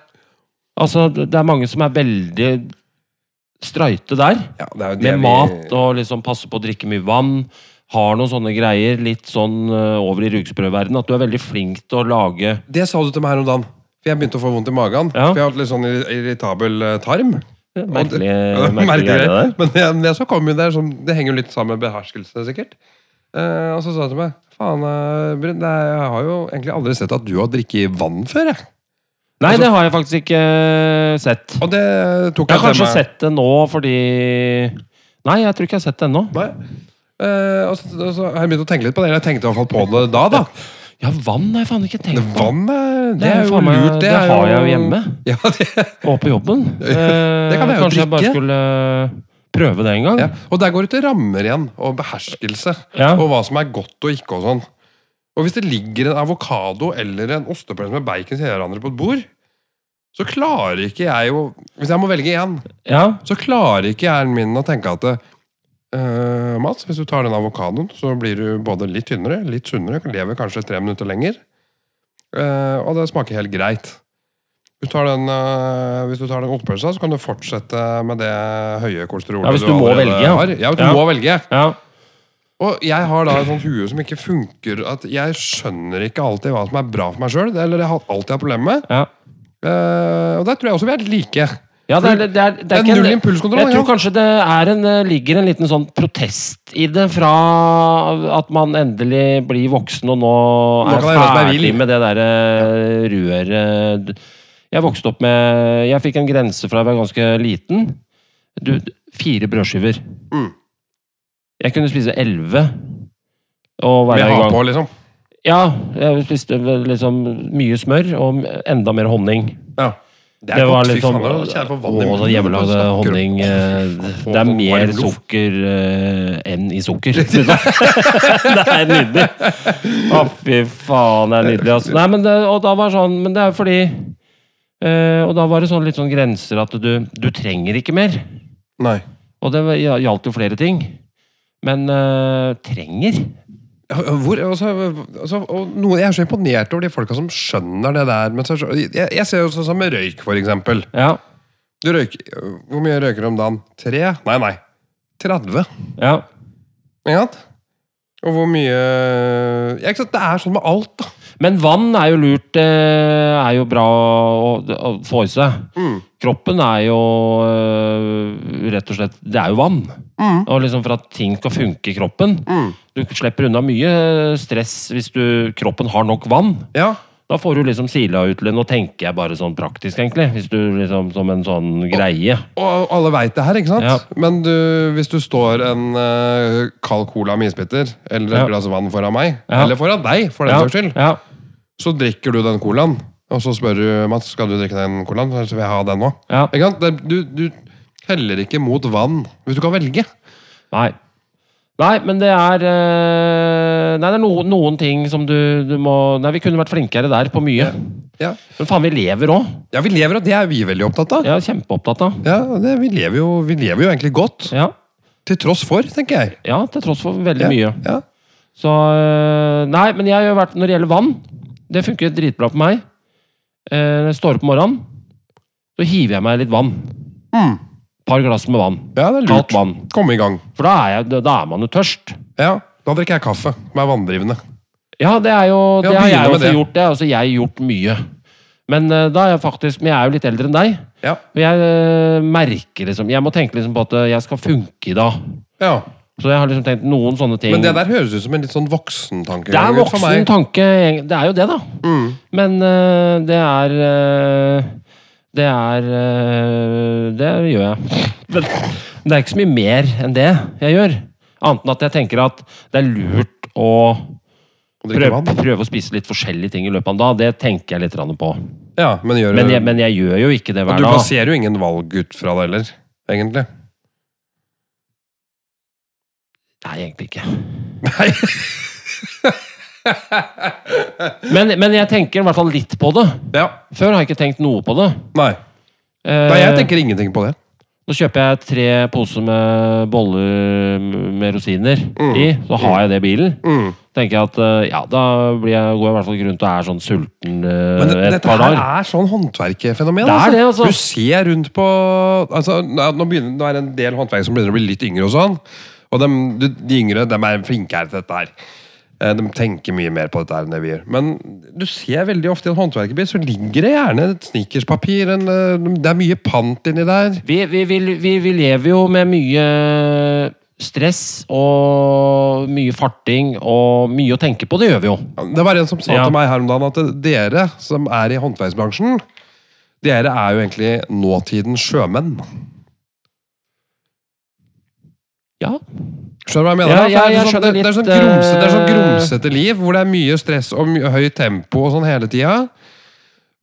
Speaker 2: Altså, det det er mange som er veldig streite der.
Speaker 1: Ja, det er jo det
Speaker 2: Med mat og liksom passe på å drikke mye vann. Har noen sånne greier litt sånn øh, over i rugsprøververdenen. At du er veldig flink til å lage
Speaker 1: vi Det sa du til meg her om dagen. For jeg begynte å få vondt i magen.
Speaker 2: Ja.
Speaker 1: For jeg har hatt litt sånn irri- irritabel eh, tarm.
Speaker 2: merkelige
Speaker 1: Og-
Speaker 2: merkelige greier der.
Speaker 1: Men det, det så kom jo der, som, det henger jo litt sammen med beherskelse, sikkert. Eh, og så sa hun til meg Faen, eh, Brun, det er- jeg har jo egentlig aldri sett at du har drikket vann før. Jeg.
Speaker 2: Nei,
Speaker 1: Altså-
Speaker 2: det har jeg faktisk ikke øh, sett.
Speaker 1: Og det tok
Speaker 2: Jeg
Speaker 1: jeg,
Speaker 2: har
Speaker 1: til
Speaker 2: kanskje
Speaker 1: meg.
Speaker 2: sett det nå fordi Nei, jeg tror ikke jeg har sett det ennå.
Speaker 1: Nei. Eh, og, så, og så har jeg begynt å tenke litt på det. eller Jeg tenkte i hvert fall på det da. da
Speaker 2: Ja, vann har jeg faen ikke tenkt på.
Speaker 1: Vann er, det
Speaker 2: er
Speaker 1: er
Speaker 2: jo
Speaker 1: jo
Speaker 2: faen meg-
Speaker 1: lurt.
Speaker 2: det
Speaker 1: er
Speaker 2: har jeg jo hjemme.
Speaker 1: Ja, det,
Speaker 2: Og på jobben. Eh,
Speaker 1: Det kan jeg jo
Speaker 2: kanskje jeg bare
Speaker 1: drikke.
Speaker 2: skulle eh, prøve det en gang.
Speaker 1: Ja, og der går det til rammer igjen, og beherskelse.
Speaker 2: Ja.
Speaker 1: Og hva som er godt og ikke og sånn. Og hvis det ligger en avokado eller en ostepølse med bacon til hverandre på et bord, så klarer ikke jeg å Hvis jeg må velge én,
Speaker 2: Ja,
Speaker 1: så klarer ikke hjernen min å tenke at eh, Mats, hvis du tar den avokadoen, så blir du både litt tynnere, litt sunnere, lever kanskje tre minutter lenger, eh, og det smaker helt greit. Hvis du tar den, eh, hvis du tar den ostepølsa, så kan du fortsette med det høye kolesterolet
Speaker 2: Ja, hvis du må
Speaker 1: allerede
Speaker 2: velge, ja.
Speaker 1: har. Ja, hvis du
Speaker 2: Ja.
Speaker 1: må velge.
Speaker 2: ja.
Speaker 1: Og jeg har da et sånt hue som ikke funker. At jeg skjønner ikke alltid hva som er bra for meg sjøl. Eller jeg har alltid har problemer med.
Speaker 2: ja.
Speaker 1: Eh, og der tror jeg også vi er like.
Speaker 2: Ja, det er, det er, det
Speaker 1: Det
Speaker 2: er
Speaker 1: er
Speaker 2: ikke en-
Speaker 1: null impulskontroll,
Speaker 2: Jeg tror
Speaker 1: ikke
Speaker 2: kanskje det er en, eh, ligger en liten sånn protest i det fra at man endelig blir voksen og nå
Speaker 1: Nå
Speaker 2: er
Speaker 1: kan jeg gjøre som jeg
Speaker 2: ferdig
Speaker 1: vil.
Speaker 2: med det derre røret Jeg vokste opp med Jeg fikk en grense fra jeg var ganske liten. Du, fire brødskiver.
Speaker 1: Mm.
Speaker 2: Jeg kunne spise elleve. Og være
Speaker 1: Vi
Speaker 2: i
Speaker 1: har
Speaker 2: gang.
Speaker 1: på, liksom.
Speaker 2: Ja, jeg spiste vel liksom mye smør og enda mer honning.
Speaker 1: Ja. Det
Speaker 2: Det var
Speaker 1: godt, fy
Speaker 2: litt sånn
Speaker 1: faen, nå kjenner jeg på vann i
Speaker 2: Å,
Speaker 1: munnen. altså.
Speaker 2: sånn hjemmelagd
Speaker 1: Snakker om-
Speaker 2: honning eh, Det er
Speaker 1: Varm
Speaker 2: mer
Speaker 1: loff.
Speaker 2: sukker eh, enn i sukker. Det er nydelig! Å, fy faen, det er nydelig. Altså. Nei, men det, og da var det sånn, men det er fordi eh, Og da var det sånn litt sånn grenser at du, du trenger ikke mer.
Speaker 1: Nei.
Speaker 2: Og det var- gjaldt jo flere ting. Men eh, trenger?
Speaker 1: Ja, Hvor, altså, altså, og noe, jeg er så imponert over de folka som skjønner det der. Men så, er det så- jeg, jeg ser jo sånn som med røyk, for eksempel.
Speaker 2: Ja.
Speaker 1: Du røyker, hvor mye røyker du om dagen? Tre? Nei, nei. 30.
Speaker 2: ja.
Speaker 1: Ikke sant? Og hvor mye ja, ikke sant? Det er sånn med alt, da.
Speaker 2: Men vann er jo lurt. Det er jo bra å, å få i seg.
Speaker 1: Mm.
Speaker 2: Kroppen er jo øh, rett og slett Det er jo vann.
Speaker 1: Mm.
Speaker 2: Og liksom For at ting skal funke i kroppen.
Speaker 1: Mm.
Speaker 2: Du slipper unna mye eh, stress hvis du, kroppen har nok vann.
Speaker 1: Ja.
Speaker 2: Da får du liksom sila ut litt. Nå tenker jeg bare sånn praktisk, egentlig. Hvis du liksom Som en sånn greie.
Speaker 1: Og alle veit det her, ikke sant?
Speaker 2: Ja.
Speaker 1: Men du, hvis du står en eh, kald cola med isbiter, eller et
Speaker 2: Ja.
Speaker 1: glass vann foran meg,
Speaker 2: Ja.
Speaker 1: eller foran deg, for den
Speaker 2: ja,
Speaker 1: saks skyld,
Speaker 2: ja.
Speaker 1: så drikker du den colaen. Og så spør du Mats skal du drikke den colaen, så vil jeg ha den nå.
Speaker 2: Ja.
Speaker 1: Ikke sant? Det- Du, du heller ikke mot vann hvis du kan velge.
Speaker 2: Nei. Nei, men det er øh, Nei, det er no, noen ting som du, du må Nei, vi kunne vært flinkere der på mye.
Speaker 1: Ja,
Speaker 2: Men faen, vi lever òg.
Speaker 1: ja vi lever, og det er vi veldig opptatt av. Ja,
Speaker 2: Jeg er kjempeopptatt av.
Speaker 1: det, vi, lever jo, vi lever jo egentlig godt.
Speaker 2: Ja.
Speaker 1: Til tross for, tenker jeg.
Speaker 2: ja, til tross for veldig
Speaker 1: Ja.
Speaker 2: mye.
Speaker 1: Ja.
Speaker 2: Så øh, Nei, men jeg har jo vært Når det gjelder vann, det funker dritbra på meg. Eh, Når jeg står opp om morgenen, så hiver jeg meg litt vann.
Speaker 1: Mm.
Speaker 2: Par glass med vann.
Speaker 1: ja, det er
Speaker 2: Kaldt
Speaker 1: lurt.
Speaker 2: vann.
Speaker 1: Komme i gang.
Speaker 2: For da er, jeg, da- da er man jo tørst.
Speaker 1: Ja, Da drikker jeg kaffe, som er vanndrivende.
Speaker 2: Ja, det er jo
Speaker 1: Ja,
Speaker 2: Det har
Speaker 1: begynne
Speaker 2: jeg
Speaker 1: med
Speaker 2: også
Speaker 1: det.
Speaker 2: gjort. Det har også jeg gjort mye. Men eh, da er jeg faktisk Men jeg er jo litt eldre enn deg.
Speaker 1: Ja.
Speaker 2: Og jeg eh, merker liksom Jeg må tenke liksom på at eh, jeg skal funke i dag.
Speaker 1: ja.
Speaker 2: Så jeg har liksom tenkt noen sånne ting.
Speaker 1: Men det der høres ut som en litt sånn voksentankegang.
Speaker 2: Det er
Speaker 1: ut for
Speaker 2: voksen
Speaker 1: meg.
Speaker 2: tanke. Det er jo det, da.
Speaker 1: Mm.
Speaker 2: Men øh, det er øh, Det er øh, Det gjør jeg. Men det er ikke så mye mer enn det jeg gjør. Annet enn at jeg tenker at det er lurt å
Speaker 1: Å drikke
Speaker 2: prøve,
Speaker 1: vann.
Speaker 2: prøve å spise litt forskjellige ting i løpet av en dag. Det tenker jeg litt grann på.
Speaker 1: Ja, men gjør
Speaker 2: Men jeg, men jeg gjør jo ikke det
Speaker 1: Og
Speaker 2: hver
Speaker 1: du
Speaker 2: dag.
Speaker 1: plasserer jo ingen valg ut fra det heller, egentlig.
Speaker 2: Nei, egentlig ikke.
Speaker 1: Nei.
Speaker 2: Men, men jeg tenker i hvert fall litt på det.
Speaker 1: Ja.
Speaker 2: Før har jeg ikke tenkt noe på det.
Speaker 1: Nei.
Speaker 2: Eh,
Speaker 1: Nei, jeg tenker ingenting på det.
Speaker 2: Nå kjøper jeg tre poser med boller med rosiner i, så har jeg det i bilen.
Speaker 1: Mm.
Speaker 2: Tenker jeg at eh, ja, da blir jeg, går jeg i hvert fall ikke rundt og er sånn sulten eh,
Speaker 1: Men det,
Speaker 2: et
Speaker 1: dette
Speaker 2: par
Speaker 1: her
Speaker 2: dager.
Speaker 1: er sånn håndverkerfenomen.
Speaker 2: Det er det, altså.
Speaker 1: Du ser rundt på altså, Nå nå begynner, nå er det en del håndverkere som begynner å bli litt yngre. og sånn. Og dem, de, de yngre dem er flinkere til dette her. Eh, De tenker mye mer på dette her enn det vi gjør. Men du ser veldig ofte i en håndverkerbil så ligger det gjerne et snickerspapir. En, eh, det er mye pant inni der.
Speaker 2: Vi, vi, vi, vi, vi lever jo med mye stress og mye farting og mye å tenke på. Det gjør vi jo.
Speaker 1: Det var en som sa
Speaker 2: Ja.
Speaker 1: til meg her om dagen at dere som er i håndverksbransjen, dere er jo egentlig nåtidens sjømenn.
Speaker 2: Ja.
Speaker 1: Skjønner du hva jeg mener? da?
Speaker 2: Ja, ja,
Speaker 1: For det, er
Speaker 2: jeg
Speaker 1: sånn,
Speaker 2: skjønner
Speaker 1: det, det, er sånn
Speaker 2: litt,
Speaker 1: grumsete, det er sånn
Speaker 2: eh,
Speaker 1: grumsete liv hvor det er mye stress og mye, høyt tempo og sånn hele tida.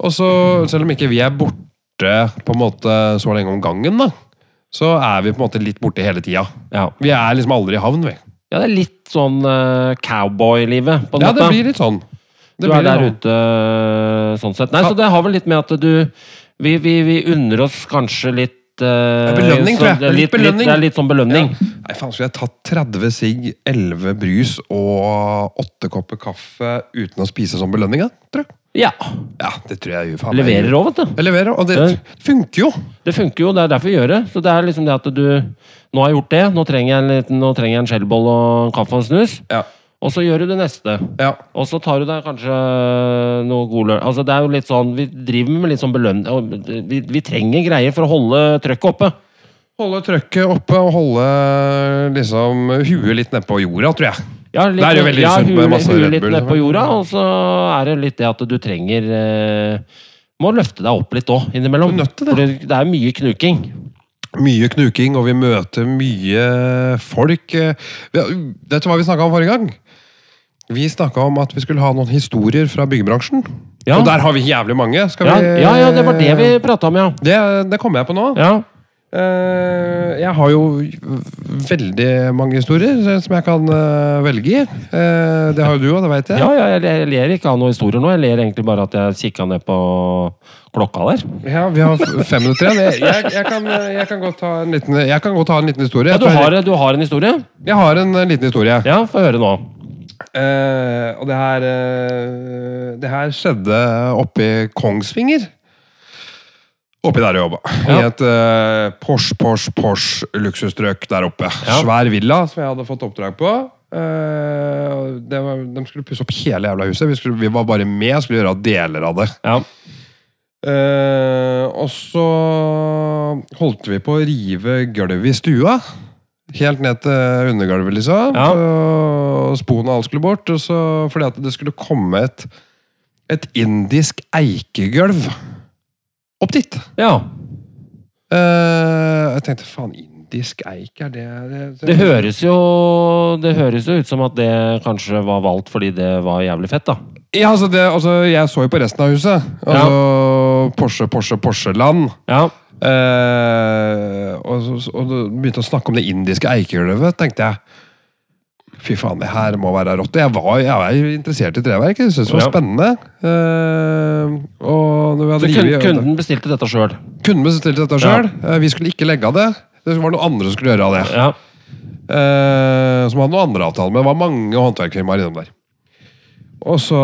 Speaker 1: Og så, selv om ikke vi er borte på en måte så lenge om gangen, da, så er vi på en måte litt borte hele tida.
Speaker 2: Ja.
Speaker 1: Vi er liksom aldri i havn, vi.
Speaker 2: ja, det er litt sånn eh, cowboy-livet, på en
Speaker 1: Ja,
Speaker 2: måte.
Speaker 1: det blir litt sånn. Det
Speaker 2: du
Speaker 1: blir
Speaker 2: er
Speaker 1: litt
Speaker 2: der eh,
Speaker 1: sånn.
Speaker 2: ute sånn sett. Nei, så det har vel litt med at du Vi, vi, vi unner oss kanskje litt eh,
Speaker 1: Det er belønning,
Speaker 2: så
Speaker 1: tror jeg.
Speaker 2: Det er litt,
Speaker 1: Litt belønning.
Speaker 2: Litt, det er litt sånn belønning.
Speaker 1: Nei, faen, skulle jeg tatt 30 sigg, 11 brus og 8 kopper kaffe uten å spise som belønning, da, tror jeg?
Speaker 2: Ja.
Speaker 1: Ja, det tror jeg jo faen meg-
Speaker 2: Leverer òg, vet du.
Speaker 1: Jeg leverer, og det
Speaker 2: Ja.
Speaker 1: funker jo.
Speaker 2: Det funker jo, det er derfor vi gjør det. Så det er liksom det at du Nå har jeg gjort det, nå trenger jeg en, liten, nå trenger jeg en skjellboll og en kaffe og en snus.
Speaker 1: Ja.
Speaker 2: Og så gjør du det neste.
Speaker 1: ja.
Speaker 2: Og så tar du deg kanskje noe god lønn. Altså, det er jo litt sånn, vi driver med litt sånn belønn... og Vi, vi trenger greier for å holde trøkket oppe.
Speaker 1: Holde trøkket oppe og holde liksom huet litt nedpå jorda, tror jeg.
Speaker 2: Ja, litt,
Speaker 1: Det er jo veldig
Speaker 2: ja,
Speaker 1: sunt med
Speaker 2: huet-
Speaker 1: masse
Speaker 2: huet
Speaker 1: Red
Speaker 2: litt
Speaker 1: Bull,
Speaker 2: ned på
Speaker 1: selvfølgelig.
Speaker 2: jorda, og så er det litt det at du trenger eh, Må løfte deg opp litt òg, innimellom.
Speaker 1: Du er nødt til det.
Speaker 2: For det er mye knuking.
Speaker 1: Mye knuking, og vi møter mye folk. Eh, vi- Vet du hva vi snakka om forrige gang? Vi snakka om at vi skulle ha noen historier fra byggebransjen.
Speaker 2: Ja.
Speaker 1: Og der har vi jævlig mange. Skal
Speaker 2: Ja,
Speaker 1: vi
Speaker 2: ja, ja det var det vi prata om, ja.
Speaker 1: Det, det kommer jeg på nå.
Speaker 2: ja.
Speaker 1: Eh, jeg har jo veldig mange historier eh, som jeg kan eh, velge i. Eh, det har jo du òg, det veit jeg.
Speaker 2: Ja, ja, jeg, jeg ler ikke av noen historier nå. Jeg ler egentlig bare at jeg kikka ned på klokka der.
Speaker 1: Ja, vi har f- fem minutter igjen. Jeg, jeg, jeg, kan, jeg, kan, godt ta en liten, jeg kan godt ta en liten historie.
Speaker 2: Ja,
Speaker 1: Jeg,
Speaker 2: du,
Speaker 1: tror
Speaker 2: har,
Speaker 1: jeg,
Speaker 2: du har en historie?
Speaker 1: jeg har en eh, liten historie.
Speaker 2: Ja, få høre nå.
Speaker 1: Eh, og det her eh, Det her skjedde oppe i Kongsvinger. Oppi der jeg jobba. I
Speaker 2: Ja.
Speaker 1: et eh, Porsche, Porsche, Porsche luksusstrøk der oppe.
Speaker 2: Ja.
Speaker 1: Svær villa som jeg hadde fått oppdrag på. Eh, og det var, de skulle pusse opp hele jævla huset. Vi, skulle, vi var bare med og skulle gjøre deler av det.
Speaker 2: Ja.
Speaker 1: Eh, og så holdt vi på å rive gulvet i stua. Helt ned til undergulvet, liksom.
Speaker 2: Ja.
Speaker 1: Og spoen og alt skulle bort. Og så, fordi at det skulle komme et, et indisk eikegulv opp dit.
Speaker 2: ja.
Speaker 1: Eh, jeg tenkte faen, indisk eik, er det det-
Speaker 2: Det høres jo Det høres jo ut som at det kanskje var valgt fordi det var jævlig fett, da.
Speaker 1: Ja, altså, det, altså, jeg så jo på resten av huset. Altså, Porsche, Porsche, Porsche-land.
Speaker 2: Ja.
Speaker 1: Eh, og, så- og du begynte å snakke om det indiske eikegulvet, tenkte jeg. Fy faen, det her må være rått. Jeg var, jeg var jo interessert i treverk. Jeg syntes det var
Speaker 2: Ja.
Speaker 1: spennende. Eh, og når vi
Speaker 2: Så
Speaker 1: hadde
Speaker 2: kun,
Speaker 1: rivet
Speaker 2: kunden bestilte dette sjøl.
Speaker 1: Kunden bestilte dette sjøl. Vi skulle ikke legge av det. Det var noen andre som skulle gjøre av det.
Speaker 2: Ja.
Speaker 1: Eh, som hadde noen andre avtaler med. Det var mange håndverkerfirmaer innom der. Og så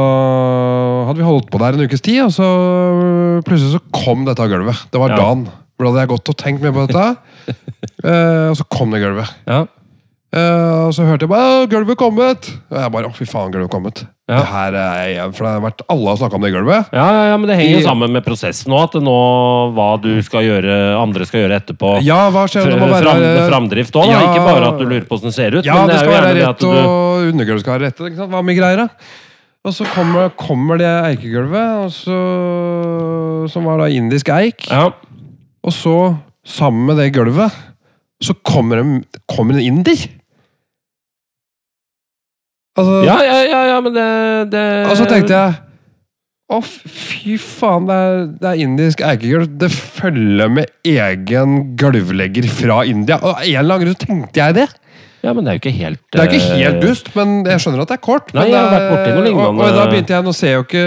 Speaker 1: hadde vi holdt på der en ukes tid, og så plutselig så kom dette gulvet. Det var
Speaker 2: Ja.
Speaker 1: dagen. For da hadde jeg gått og tenkt mye på dette. Eh, og så kom det gulvet.
Speaker 2: Ja.
Speaker 1: Eh, og så hørte jeg bare «Å, 'gulvet kommet'. Og jeg bare 'å, fy faen, gulvet kommet'.
Speaker 2: Ja.
Speaker 1: Det her er, for det har vært alle har snakka om det gulvet.
Speaker 2: Ja, ja, ja, men det henger
Speaker 1: I-
Speaker 2: jo sammen med prosessen òg. At det nå hva du skal gjøre, andre skal gjøre etterpå.
Speaker 1: Ja, hva skjer
Speaker 2: Fr-
Speaker 1: det må
Speaker 2: Fram,
Speaker 1: være-
Speaker 2: framdrift òg, da.
Speaker 1: Ja.
Speaker 2: Ikke bare at du lurer på åssen det ser ut.
Speaker 1: Ja,
Speaker 2: men
Speaker 1: det,
Speaker 2: det, er
Speaker 1: skal
Speaker 2: jo
Speaker 1: være
Speaker 2: gjerne det at
Speaker 1: rett,
Speaker 2: du
Speaker 1: og undergulvet skal være rett. Ikke sant? Hva med greier, da? Og så kommer, kommer det eikegulvet, og så, som var da indisk eik.
Speaker 2: ja.
Speaker 1: Og så, sammen med det gulvet, så kommer en, kommer en inder. Altså,
Speaker 2: Ja, ja, ja, ja, men det, det
Speaker 1: Og så tenkte jeg å, fy faen, det er, det er indisk eikegulv. Det følger med egen gulvlegger fra India. Og av en eller annen grunn så tenkte jeg det.
Speaker 2: Ja, men det er jo ikke helt
Speaker 1: Det er ikke
Speaker 2: eh,
Speaker 1: helt dust, men jeg skjønner at det er kort.
Speaker 2: Nei,
Speaker 1: men
Speaker 2: jeg har
Speaker 1: det
Speaker 2: vært borti noe
Speaker 1: er-
Speaker 2: lignende.
Speaker 1: Og, og da begynte jeg, Nå ser jo ikke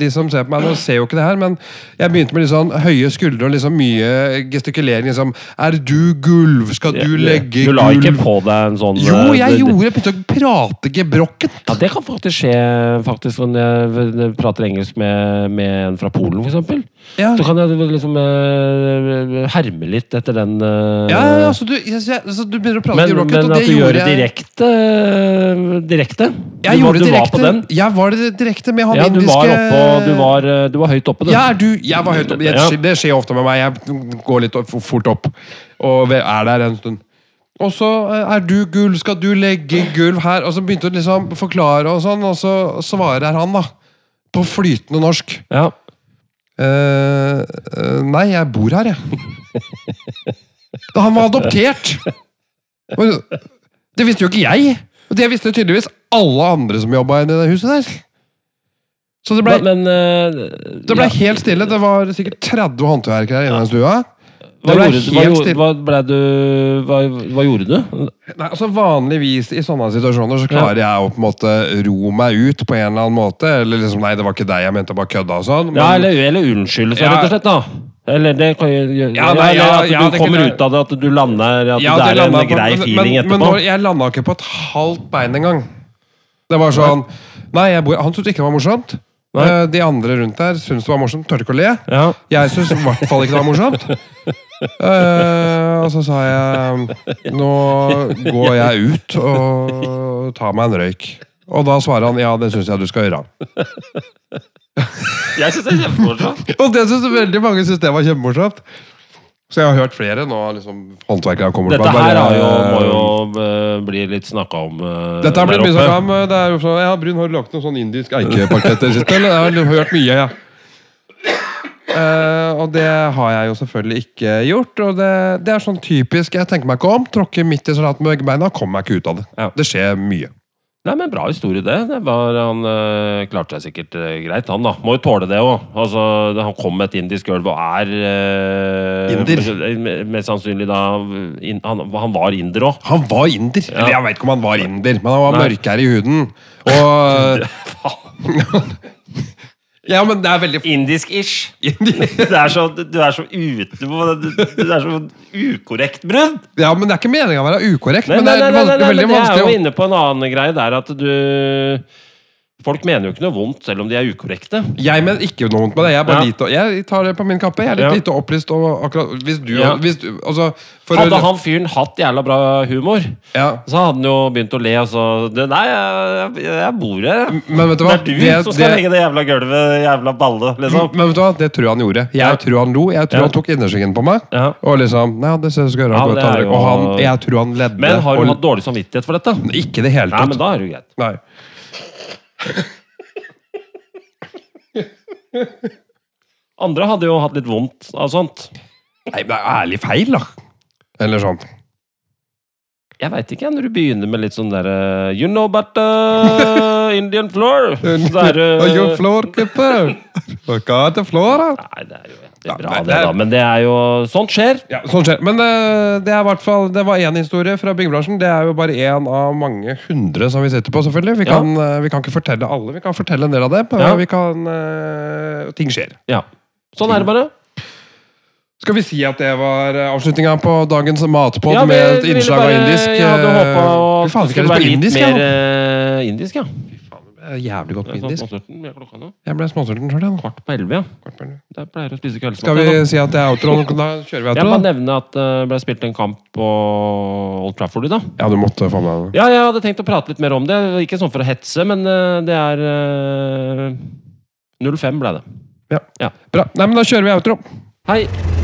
Speaker 1: de som ser på meg, nå ser jo ikke det her, men jeg begynte med litt sånn høye skuldre og liksom mye gestikulering. liksom, Er du gulv? Skal du legge
Speaker 2: Du la ikke
Speaker 1: gulv?
Speaker 2: på deg en sånn
Speaker 1: Jo,
Speaker 2: eh,
Speaker 1: jeg
Speaker 2: det-
Speaker 1: gjorde Jeg begynte å prate gebrokkent.
Speaker 2: Ja, Det kan faktisk skje faktisk når jeg v- jeg prater engelsk med, med en fra Polen, f.eks.
Speaker 1: Ja.
Speaker 2: Så kan jeg liksom eh, herme litt etter den eh,
Speaker 1: Ja, ja, ja, så du, jeg- jeg- så du begynner å prate
Speaker 2: Men,
Speaker 1: gebrokkent,
Speaker 2: men
Speaker 1: og
Speaker 2: at
Speaker 1: det
Speaker 2: du gjør
Speaker 1: gjorde
Speaker 2: det
Speaker 1: jeg.
Speaker 2: direkte eh, Direkte?
Speaker 1: Jeg
Speaker 2: du, var-
Speaker 1: gjorde det
Speaker 2: du var
Speaker 1: direkte.
Speaker 2: på den?
Speaker 1: Jeg var det direkte med han
Speaker 2: Ja, du
Speaker 1: indiske
Speaker 2: var, oppå, du, var, eh, du var høyt oppe, du.
Speaker 1: Ja, er du, jeg var høyt oppe. Jeg-
Speaker 2: Ja.
Speaker 1: Det skjer ofte med meg. Jeg går litt opp- fort opp og er der en stund. Og så eh, er du gulv, skal du legge gulv her? Og så begynte hun liksom å forklare, og sånn, og så svarer han, da. På flytende norsk.
Speaker 2: Ja.
Speaker 1: Eh, eh, nei, jeg bor her, jeg. Han var adoptert! Og Det visste jo ikke jeg. Og det visste tydeligvis alle andre som jobba i det huset der. Så det ble
Speaker 2: Men, men eh,
Speaker 1: det ble
Speaker 2: ja.
Speaker 1: helt stille. Det var sikkert 30 håndverkere her inne i den stua. Det
Speaker 2: Hva,
Speaker 1: ble
Speaker 2: gjorde, du- hva,
Speaker 1: helt
Speaker 2: gjorde-
Speaker 1: stille.
Speaker 2: hva, ble du, hva, hva gjorde du?
Speaker 1: Nei, altså Vanligvis i sånne situasjoner så klarer jeg å på en måte ro meg ut på en eller annen måte. Eller liksom, nei, det var ikke deg jeg mente, jeg bare kødda og sånn.
Speaker 2: Ja, eller, eller unnskylde seg,
Speaker 1: Ja.
Speaker 2: rett og slett. da eller det kan jo gjøre
Speaker 1: Ja,
Speaker 2: ja,
Speaker 1: nei,
Speaker 2: eller
Speaker 1: ja,
Speaker 2: At
Speaker 1: ja,
Speaker 2: du
Speaker 1: det
Speaker 2: kommer
Speaker 1: kunne-
Speaker 2: ut av det, at du lander At
Speaker 1: Ja,
Speaker 2: det er en
Speaker 1: landet på-
Speaker 2: grei
Speaker 1: men-
Speaker 2: feeling
Speaker 1: men,
Speaker 2: etterpå.
Speaker 1: Men nå, jeg landa ikke på et halvt bein engang. Det var sånn Nei, jeg, bor- han syntes ikke det var morsomt.
Speaker 2: Nei.
Speaker 1: Eh, De andre rundt der syntes det var morsomt, turte ikke å le.
Speaker 2: ja.
Speaker 1: Jeg syns i hvert fall ikke det var morsomt. Eh, og så sa jeg Nå går jeg ut og tar meg en røyk. Og da svarer han ja, det syns jeg du skal gjøre.
Speaker 2: Jeg syns det er kjempemorsomt.
Speaker 1: Og det syns veldig mange synes det var kjempemorsomt. Så jeg har hørt flere nå. liksom Håndverkere kommer
Speaker 2: Dette her
Speaker 1: bare-
Speaker 2: er jo, må jo eh, bli litt snakka om eh,
Speaker 1: Dette har blitt
Speaker 2: der
Speaker 1: mye
Speaker 2: oppe.
Speaker 1: snakk om. Det er jo sånn, ja, Brun, har du lagt noen sånn indisk eikeparkett i det siste? Eller? Jeg har hørt mye, ja. Eh, og det har jeg jo selvfølgelig ikke gjort. Og det, det er sånn typisk. Jeg tenker meg ikke om. Tråkker midt i salaten med begge beina, kommer meg ikke ut av det.
Speaker 2: Ja.
Speaker 1: Det skjer mye.
Speaker 2: Nei, men Bra historie, det. det var, han eh, klarte seg sikkert eh, greit, han. da Må jo tåle det òg. Altså, det- han kom med et indisk gulv og er eh,
Speaker 1: Inder.
Speaker 2: mest- Mest sannsynlig da in, han, han var inder òg.
Speaker 1: Han var inder. Eller jeg veit ikke om han var inder, men han var
Speaker 2: Nei.
Speaker 1: mørkere i huden. Og Ja, men det er veldig
Speaker 2: Indisk-ish.
Speaker 1: f-
Speaker 2: Du er så, du er så ute på det. Du, du er så ukorrekt, Brun.
Speaker 1: Ja, men det er ikke meninga å være ukorrekt,
Speaker 2: Nei,
Speaker 1: men
Speaker 2: nei,
Speaker 1: det er
Speaker 2: nei, nei, nei,
Speaker 1: vanskelig-
Speaker 2: nei,
Speaker 1: veldig
Speaker 2: men jeg er jo
Speaker 1: vanskelig å
Speaker 2: inne på en annen greie der at du Folk mener jo ikke noe vondt selv om de er ukorrekte.
Speaker 1: Jeg mener ikke noe vondt med det. Jeg, er bare
Speaker 2: Ja.
Speaker 1: lite, jeg tar det på min kappe. Jeg er litt
Speaker 2: Ja.
Speaker 1: lite opplyst. Og akkurat, hvis du,
Speaker 2: Ja.
Speaker 1: hvis du altså, for å-
Speaker 2: Hadde han fyren hatt jævla bra humor,
Speaker 1: ja.
Speaker 2: så hadde han jo begynt å le og så det, Nei, jeg, jeg, jeg bor her. jeg.
Speaker 1: Men vet du
Speaker 2: Det
Speaker 1: hva? Mm,
Speaker 2: er du som skal legge det jævla gulvet, jævla balle, liksom.
Speaker 1: men vet du hva? Det tror jeg han gjorde. Jeg
Speaker 2: Ja.
Speaker 1: tror han lo. Jeg tror
Speaker 2: Ja.
Speaker 1: han tok innersvingen på meg.
Speaker 2: Ja.
Speaker 1: Og liksom Nei, det ser ut som
Speaker 2: Ja, det er jo-
Speaker 1: Og han, jeg tror han ledde.
Speaker 2: Men har
Speaker 1: og-
Speaker 2: du hatt dårlig samvittighet for dette? Nei,
Speaker 1: Ikke i det hele tatt.
Speaker 2: men da er det jo greit.
Speaker 1: Nei.
Speaker 2: Andre hadde jo hatt litt vondt av sånt.
Speaker 1: Nei, men det er ærlig feil, da. Eller sånn.
Speaker 2: Jeg veit ikke, når du begynner med litt sånn derre You know about uh, Indian floor. Så er
Speaker 1: Oh, you
Speaker 2: du
Speaker 1: floor clipper! Fuck out the floor, da.
Speaker 2: Nei, det er jo det
Speaker 1: Ja,
Speaker 2: er bra,
Speaker 1: nei, det
Speaker 2: det,
Speaker 1: er-
Speaker 2: da. Men det er jo Sånt skjer.
Speaker 1: Ja, sånn skjer. Men eh, det er i hvert fall Det var én historie fra byggebransjen. Det er jo bare én av mange hundre som vi sitter på, selvfølgelig. Vi
Speaker 2: Ja.
Speaker 1: kan, eh, vi kan ikke fortelle alle. Vi kan fortelle en del av det. men
Speaker 2: Ja.
Speaker 1: Vi kan, eh, ting skjer.
Speaker 2: Ja. Sånn er det bare.
Speaker 1: Skal vi si at det var eh, avslutninga på dagens matpod
Speaker 2: Ja, vi
Speaker 1: med et
Speaker 2: ville
Speaker 1: innslag av
Speaker 2: bare-
Speaker 1: indisk?
Speaker 2: Jeg hadde
Speaker 1: eh,
Speaker 2: håpa
Speaker 1: Fy faen,
Speaker 2: at det
Speaker 1: skal
Speaker 2: skulle
Speaker 1: jeg
Speaker 2: være
Speaker 1: på
Speaker 2: litt
Speaker 1: indisk?
Speaker 2: mer
Speaker 1: jeg,
Speaker 2: eh, indisk, ja.
Speaker 1: nå? Jævlig godt
Speaker 2: Det
Speaker 1: med
Speaker 2: er
Speaker 1: indisk.
Speaker 2: sånn småsulten, vi er klokka nå.
Speaker 1: Jeg ble småsulten sjøl, jeg. nå.
Speaker 2: Kvart på elleve, ja. Jeg pleier å spise kveldsmat.
Speaker 1: Skal vi
Speaker 2: jeg, da.
Speaker 1: si at det er outroen? Da kjører vi
Speaker 2: Jeg
Speaker 1: outro,
Speaker 2: må
Speaker 1: da.
Speaker 2: nevne at eh, det ble spilt en kamp på Old Trafford i dag.
Speaker 1: Ja, du måtte få med deg det.
Speaker 2: Ja, jeg hadde tenkt å prate litt mer om det. Ikke sånn for å hetse, men eh, det er eh, 05 ble det.
Speaker 1: Bra. Nei, men da kjører vi outro.
Speaker 2: Hei!